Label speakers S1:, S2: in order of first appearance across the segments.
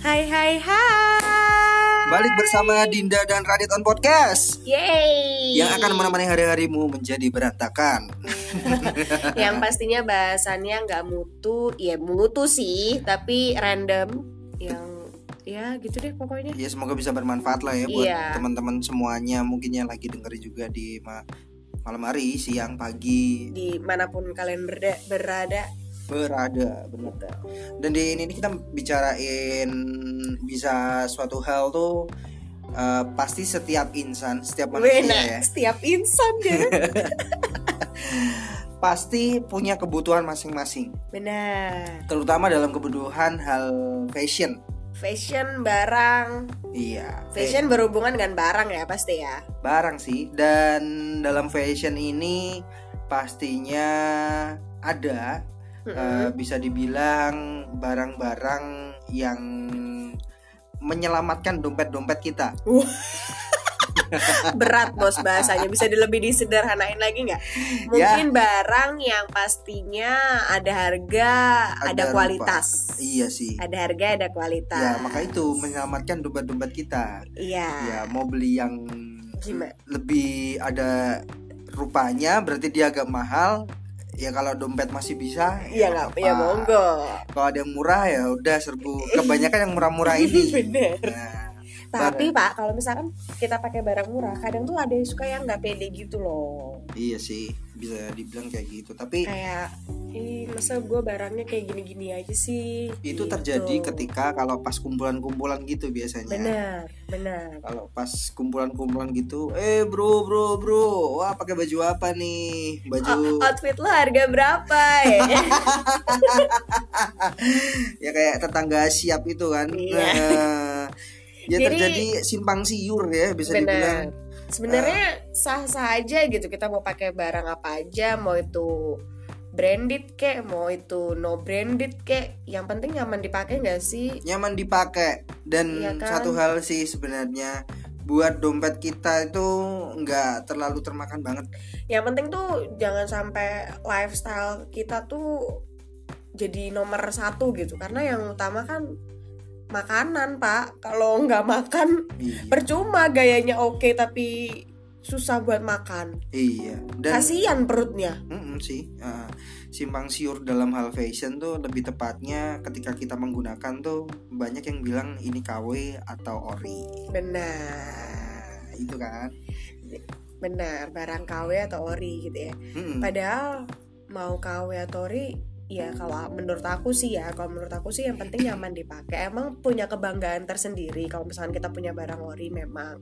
S1: Hai hai
S2: Balik bersama Dinda dan Radit on Podcast
S1: Yeay
S2: Yang akan menemani hari-harimu menjadi berantakan
S1: Yang pastinya bahasannya nggak mutu Ya mutu sih Tapi random Yang ya gitu deh pokoknya
S2: Ya semoga bisa bermanfaat lah ya buat
S1: Iya.
S2: teman-teman semuanya Mungkin yang lagi dengerin juga di ma- malam hari, siang, pagi
S1: Dimanapun kalian berda- berada
S2: Berada, benar dah. Dan di ini nih kita bicarain bisa suatu hal tuh eh, Pasti setiap insan, setiap manusia ya
S1: Wena Setiap insan ya
S2: Pasti punya kebutuhan masing-masing
S1: Benar
S2: Terutama dalam kebutuhan hal fashion
S1: Fashion barang
S2: Iya
S1: Fashion berhubungan dengan barang ya pasti ya
S2: barang sih dan dalam fashion ini pastinya ada eh,
S1: Mm-mm.
S2: bisa dibilang barang-barang yang menyelamatkan dompet-dompet kita.
S1: Berat bos bahasanya Bisa di- lebih disederhanain lagi nggak? Mungkin
S2: Ya.
S1: barang yang pastinya ada harga Ada,
S2: rupa.
S1: kualitas
S2: Iya sih.
S1: ada harga ada kualitas
S2: Ya, maka itu menyelamatkan dompet-dompet kita.
S1: iya
S2: Ya, mau beli yang
S1: Gimana?
S2: lebih ada rupanya berarti dia agak mahal. Ya kalau dompet masih bisa,
S1: iya nggak
S2: apa.
S1: ya monggo
S2: Kalau ada yang murah ya udah serbu kebanyakan yang murah-murah ini.
S1: Bener.
S2: Nah,
S1: tapi pak kalau misalkan kita pakai barang murah kadang tuh ada yang suka yang nggak pede gitu loh
S2: Iya sih, bisa dibilang kayak gitu. Tapi
S1: kayak ih masa gue barangnya kayak gini-gini aja sih
S2: itu
S1: Gitu.
S2: terjadi ketika kalau pas kumpulan-kumpulan gitu biasanya.
S1: benar benar
S2: Kalau pas kumpulan-kumpulan gitu, eh bro, bro, bro, wah pakai baju apa nih? Baju
S1: O- outfit lo harga berapa ya
S2: ya kayak tetangga siap itu kan.
S1: Iya.
S2: Nah, ya
S1: Jadi-
S2: terjadi simpang siur ya bisa dibilang. eh,
S1: benar sebenarnya sah-sah aja gitu kita mau pakai barang apa aja mau itu branded kek mau itu no branded kek yang penting nyaman dipakai nggak sih
S2: Nyaman dipakai dan
S1: Iya kan?
S2: satu hal sih sebenarnya buat dompet kita itu nggak terlalu termakan banget.
S1: yang penting tuh jangan sampai lifestyle kita tuh jadi nomor satu gitu karena yang utama kan makanan pak kalau nggak makan
S2: Iya.
S1: percuma gayanya oke tapi susah buat makan
S2: iya. Dan
S1: kasihan perutnya
S2: Mm-mm sih Ah, simpang siur dalam hal fashion tuh lebih tepatnya ketika kita menggunakan tuh banyak yang bilang ini KW atau ori
S1: benar
S2: Nah, itu kan
S1: benar barang KW atau ori gitu ya
S2: Mm-mm.
S1: padahal mau KW atau ori ya kalau menurut aku sih ya kalau menurut aku sih yang penting nyaman dipakai emang punya kebanggaan tersendiri kalau misalkan kita punya barang ori memang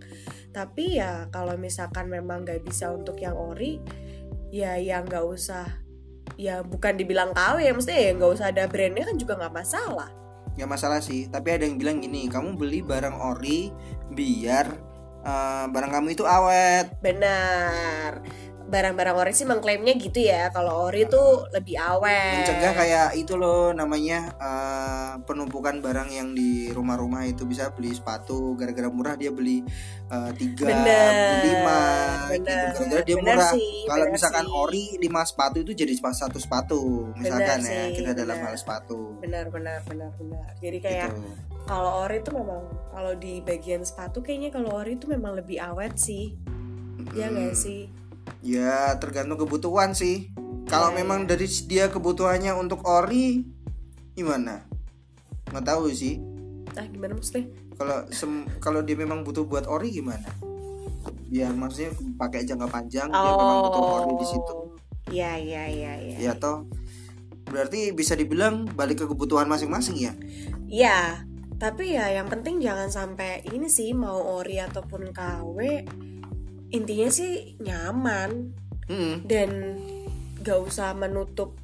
S1: tapi ya kalau misalkan memang nggak bisa untuk yang ori ya yang nggak usah ya bukan dibilang KW ya maksudnya ya nggak usah ada brandnya kan juga nggak masalah
S2: nggak masalah sih tapi ada yang bilang gini kamu beli barang ori biar ah, barang kamu itu awet
S1: benar barang-barang ori sih mengklaimnya gitu ya kalau ori tuh lebih awet
S2: mencegah kayak itu loh namanya ah, penumpukan barang yang di rumah-rumah itu bisa beli sepatu gara-gara murah dia beli ah, tiga
S1: Bener,
S2: beli lima gitu
S1: bener,
S2: gara-gara dia
S1: bener
S2: murah
S1: sih,
S2: kalau
S1: bener
S2: misalkan
S1: sih.
S2: ori lima sepatu itu jadi sepa- satu sepatu misalkan
S1: Benar
S2: ya
S1: sih,
S2: kita dalam
S1: benar.
S2: hal sepatu
S1: benar benar benar benar jadi kayak
S2: gitu
S1: kalau ori itu memang kalau di bagian sepatu kayaknya kalau ori itu memang lebih awet sih ya nggak
S2: Mm,
S1: sih
S2: ya tergantung kebutuhan sih kalau
S1: Iya,
S2: memang dari dia kebutuhannya untuk ori gimana nggak tahu sih
S1: ah gimana maksudnya
S2: kalau sem- kalau dia memang butuh buat ori gimana ya maksudnya pakai jangka panjang dia Iya, memang
S1: Oh.
S2: butuh ori di situ
S1: ya ya ya ya
S2: ya toh berarti bisa dibilang balik ke kebutuhan masing-masing ya
S1: ya tapi ya yang penting jangan sampai ini sih mau ori ataupun KW intinya sih nyaman Hmm.
S2: Mm-mm.
S1: dan gak usah menutup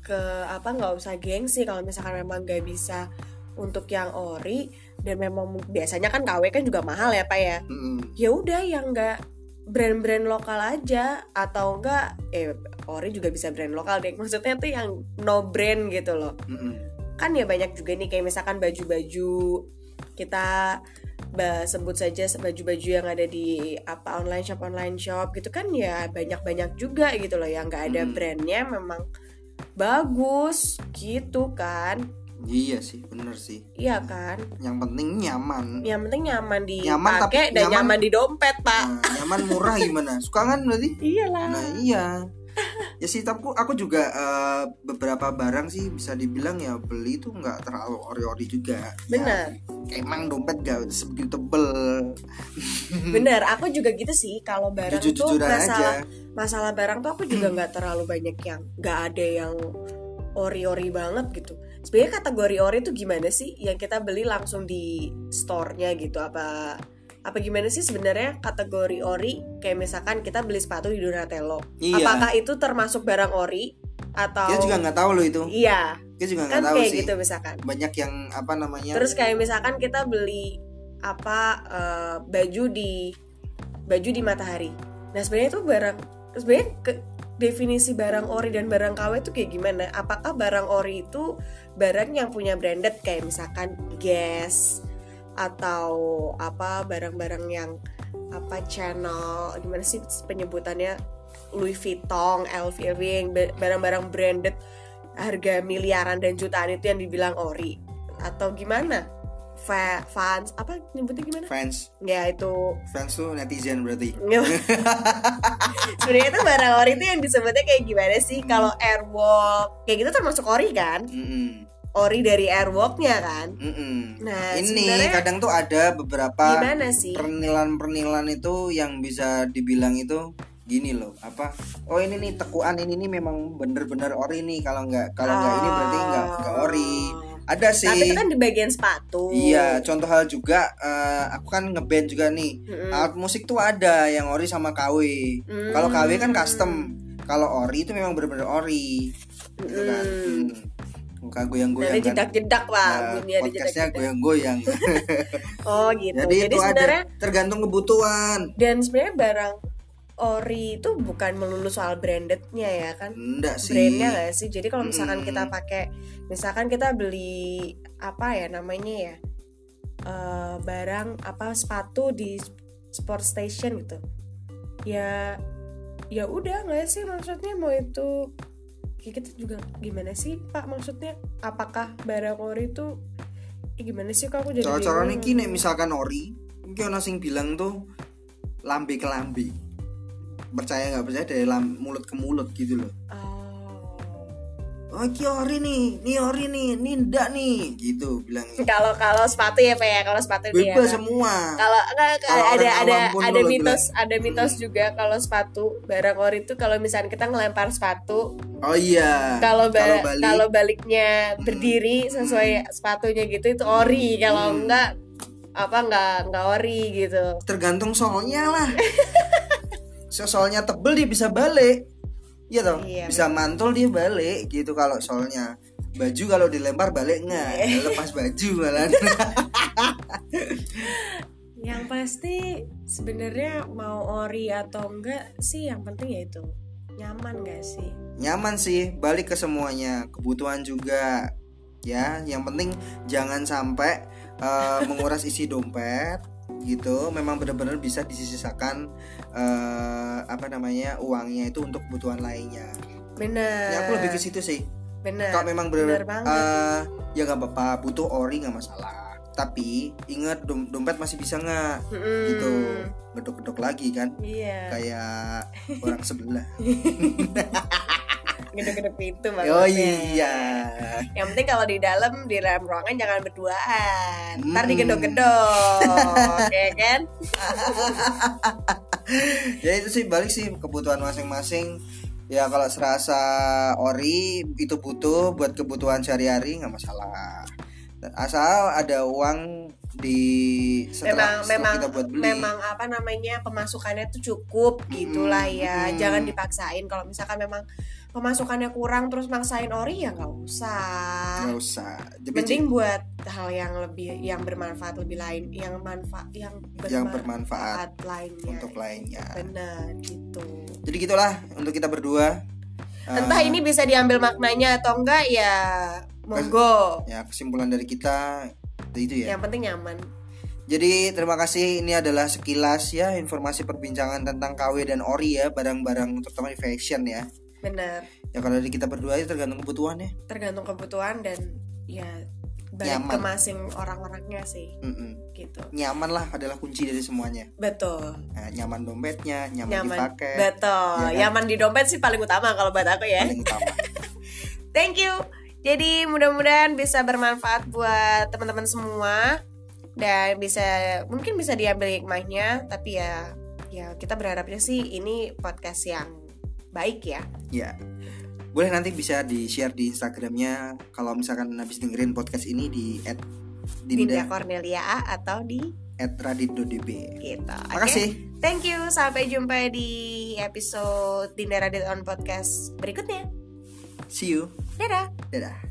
S1: ke apa nggak usah gengsi kalau misalkan memang gak bisa untuk yang ori dan memang biasanya kan KW kan juga mahal ya pak ya
S2: Mm-mm.
S1: ya udah yang nggak brand-brand lokal aja atau enggak eh ori juga bisa brand lokal deh maksudnya tuh yang no brand gitu loh
S2: Mm-mm.
S1: kan ya banyak juga nih kayak misalkan baju-baju kita ba- sebut saja baju-baju yang ada di apa online shop online shop gitu kan ya banyak-banyak juga gitu loh yang nggak ada
S2: Hmm.
S1: brandnya memang bagus gitu kan
S2: Iya sih, bener sih.
S1: Iya kan?
S2: Yang penting nyaman.
S1: Yang penting nyaman
S2: Nyaman tapi-
S1: dipakai dan
S2: nyaman-
S1: nyaman di dompet, Pak.
S2: Nah, nyaman murah gimana? Suka kan berarti?
S1: Iyalah.
S2: Nah iya. Ya sih, tapi aku juga eh, beberapa barang sih bisa dibilang ya beli tuh nggak terlalu ori-ori juga. Ya,
S1: Bener.
S2: emang dompet gak sebegitu tebel.
S1: Bener, aku juga gitu sih kalau barang tuh
S2: Jujur-jujuran
S1: masalah
S2: aja.
S1: masalah barang tuh aku juga nggak terlalu banyak yang nggak ada yang ori-ori banget gitu. Sebenarnya kategori ori tuh gimana sih yang kita beli langsung di store-nya gitu apa apa gimana sih sebenarnya kategori ori kayak misalkan kita beli sepatu di Donatello.
S2: Iya.
S1: Apakah itu termasuk barang ori atau
S2: Dia juga nggak tahu loh itu.
S1: Iya,
S2: Dia juga
S1: kan
S2: nggak tahu
S1: kayak
S2: sih.
S1: gitu misalkan.
S2: Banyak yang apa namanya?
S1: Terus kayak misalkan kita beli apa eh, baju di baju di matahari. Nah sebenarnya itu barang sebenarnya ke- definisi barang ori dan barang KW itu kayak gimana? Apakah barang ori itu barang yang punya branded kayak misalkan Guess atau apa barang-barang yang apa channel gimana sih penyebutannya Louis Vuitton, LV, yang ba- barang-barang branded harga miliaran dan jutaan itu yang dibilang ori atau gimana? Fa- fans apa nyebutnya gimana?
S2: fans,
S1: Ya itu
S2: fans tuh netizen berarti.
S1: sebenarnya itu barang ori itu yang disebutnya kayak gimana sih kalau airwalk kayak gitu termasuk ori kan
S2: Mm-mm.
S1: ori dari airwalknya kan
S2: Mm-mm.
S1: Nah,
S2: ini
S1: sebenarnya-
S2: kadang tuh ada beberapa
S1: gimana sih
S2: pernilan-pernilan itu yang bisa dibilang itu gini loh apa oh ini nih tekuan ini nih memang bener-bener ori nih kalau nggak kalau nggak ini berarti nggak nggak ori ada sih
S1: tapi itu kan di bagian sepatu
S2: iya contoh hal juga eh, aku kan ngeband juga nih
S1: Mm-mm.
S2: alat musik tuh ada yang ori sama KW
S1: Hmm.
S2: kalau KW kan custom kalau ori itu memang bener-bener ori gitu kan
S1: Hmm.
S2: Hmm. muka goyang-goyang
S1: nanti
S2: kan
S1: jedak-jedak pak
S2: Nah,
S1: bunyinya di
S2: podcastnya
S1: jedak-jedak
S2: goyang-goyang
S1: oh gitu
S2: jadi,
S1: jadi
S2: itu ada
S1: sebenarnya
S2: tergantung kebutuhan
S1: dan sebenarnya barang ori itu bukan melulu soal brandednya ya kan
S2: Enggak sih.
S1: brandnya nggak sih jadi kalau misalkan
S2: Mm.
S1: kita pakai misalkan kita beli apa ya namanya ya eh, barang apa sepatu di sport station gitu ya ya udah nggak sih maksudnya mau itu kayak kita juga gimana sih pak maksudnya apakah barang ori itu Ih, gimana sih kok aku jadi
S2: Cara-cara
S1: bingung.
S2: niki nek misalkan ori, iki ana sing bilang tuh lambe ke lambe. Percaya nggak percaya dari lam- mulut ke mulut gitu loh.
S1: Oh.
S2: Oh, iki ori nih, nih ori nih, nih ndak nih, gitu bilangnya.
S1: kalau kalau sepatu ya pak ya kalau sepatu dia
S2: Bebas semua.
S1: kalau enggak
S2: Kalau
S1: ada
S2: orang
S1: ada
S2: awam pun
S1: ada
S2: lu
S1: mitos ada mitos juga kalau sepatu barang ori itu kalau misalnya kita ngelempar sepatu
S2: Oh iya.
S1: kalau ba-
S2: balik,
S1: kalau baliknya berdiri sesuai sepatunya gitu itu ori kalau
S2: Hmm.
S1: enggak apa enggak enggak ori gitu
S2: tergantung solnya lah. So- solnya tebel dia bisa balik. Iya toh?
S1: Iya.
S2: Bisa mantul dia balik gitu kalau solnya. Baju kalau dilempar balik nggak?
S1: Iya.
S2: Lepas baju malah.
S1: yang pasti sebenarnya mau ori atau enggak sih yang penting ya itu nyaman gak sih
S2: nyaman sih balik ke semuanya kebutuhan juga ya yang penting jangan sampai eh, menguras isi dompet gitu memang benar-benar bisa disisakan eh, apa namanya uangnya itu untuk kebutuhan lainnya
S1: bener
S2: ya aku lebih ke situ sih
S1: bener
S2: kalau memang benar
S1: bener banget.
S2: eh, ya nggak apa-apa butuh ori nggak masalah tapi ingat dom- dompet masih bisa nggak
S1: Mm-mm.
S2: gitu gedok-gedok lagi kan
S1: iya
S2: kayak orang sebelah
S1: gede-gede pintu
S2: oh
S1: maksudnya.
S2: iya
S1: Yang penting kalau di dalam di dalam ruangan jangan berduaan. Ntar
S2: Hmm.
S1: digedok-gedok, ya kan?
S2: ya itu sih balik sih kebutuhan masing-masing ya kalau serasa ori itu butuh buat kebutuhan sehari-hari nggak masalah asal ada uang di
S1: memang
S2: setelah, setelah
S1: memang
S2: kita buat beli
S1: memang apa namanya pemasukannya tuh cukup gitulah ya.
S2: Mm-mm.
S1: Jangan dipaksain kalau misalkan memang pemasukannya kurang terus maksain ori ya nggak usah.
S2: nggak usah Tapi
S1: Mending buat hal yang lebih yang bermanfaat lebih lain, yang manfaat yang bermanfaat, ya.
S2: Yang bermanfaat
S1: lainnya.
S2: untuk lainnya
S1: Benar gitu.
S2: jadi gitulah untuk kita berdua Eh,
S1: Entah ini bisa diambil maknanya atau enggak ya monggo.
S2: ya kesimpulan dari kita itu ya
S1: Yang penting nyaman.
S2: Jadi terima kasih ini adalah sekilas ya informasi perbincangan tentang KW dan ori ya barang-barang terutama di fashion ya.
S1: Benar.
S2: Ya kalau dari kita berdua itu tergantung kebutuhan ya.
S1: Tergantung kebutuhan dan ya balik
S2: Nyaman.
S1: ke masing orang-orangnya sih
S2: Mm-mm.
S1: gitu
S2: nyaman lah adalah kunci dari semuanya
S1: betul
S2: Nah, nyaman dompetnya nyaman,
S1: nyaman
S2: dipakai
S1: betul
S2: ya kan?
S1: nyaman di dompet sih paling utama kalau buat aku ya
S2: paling utama
S1: thank you jadi mudah-mudahan bisa bermanfaat buat teman-teman semua dan bisa mungkin bisa diambil hikmahnya tapi ya ya kita berharapnya sih ini podcast yang baik ya
S2: ya boleh nanti bisa di share di instagramnya kalau misalkan habis dengerin podcast ini di at
S1: Dinda,
S2: dinda,
S1: Cornelia A atau di
S2: at raditdodb
S1: kita. Oke?
S2: makasih
S1: Thank you. Sampai jumpa di episode Dinda Radit on Podcast berikutnya.
S2: see you
S1: Dadah.
S2: dadah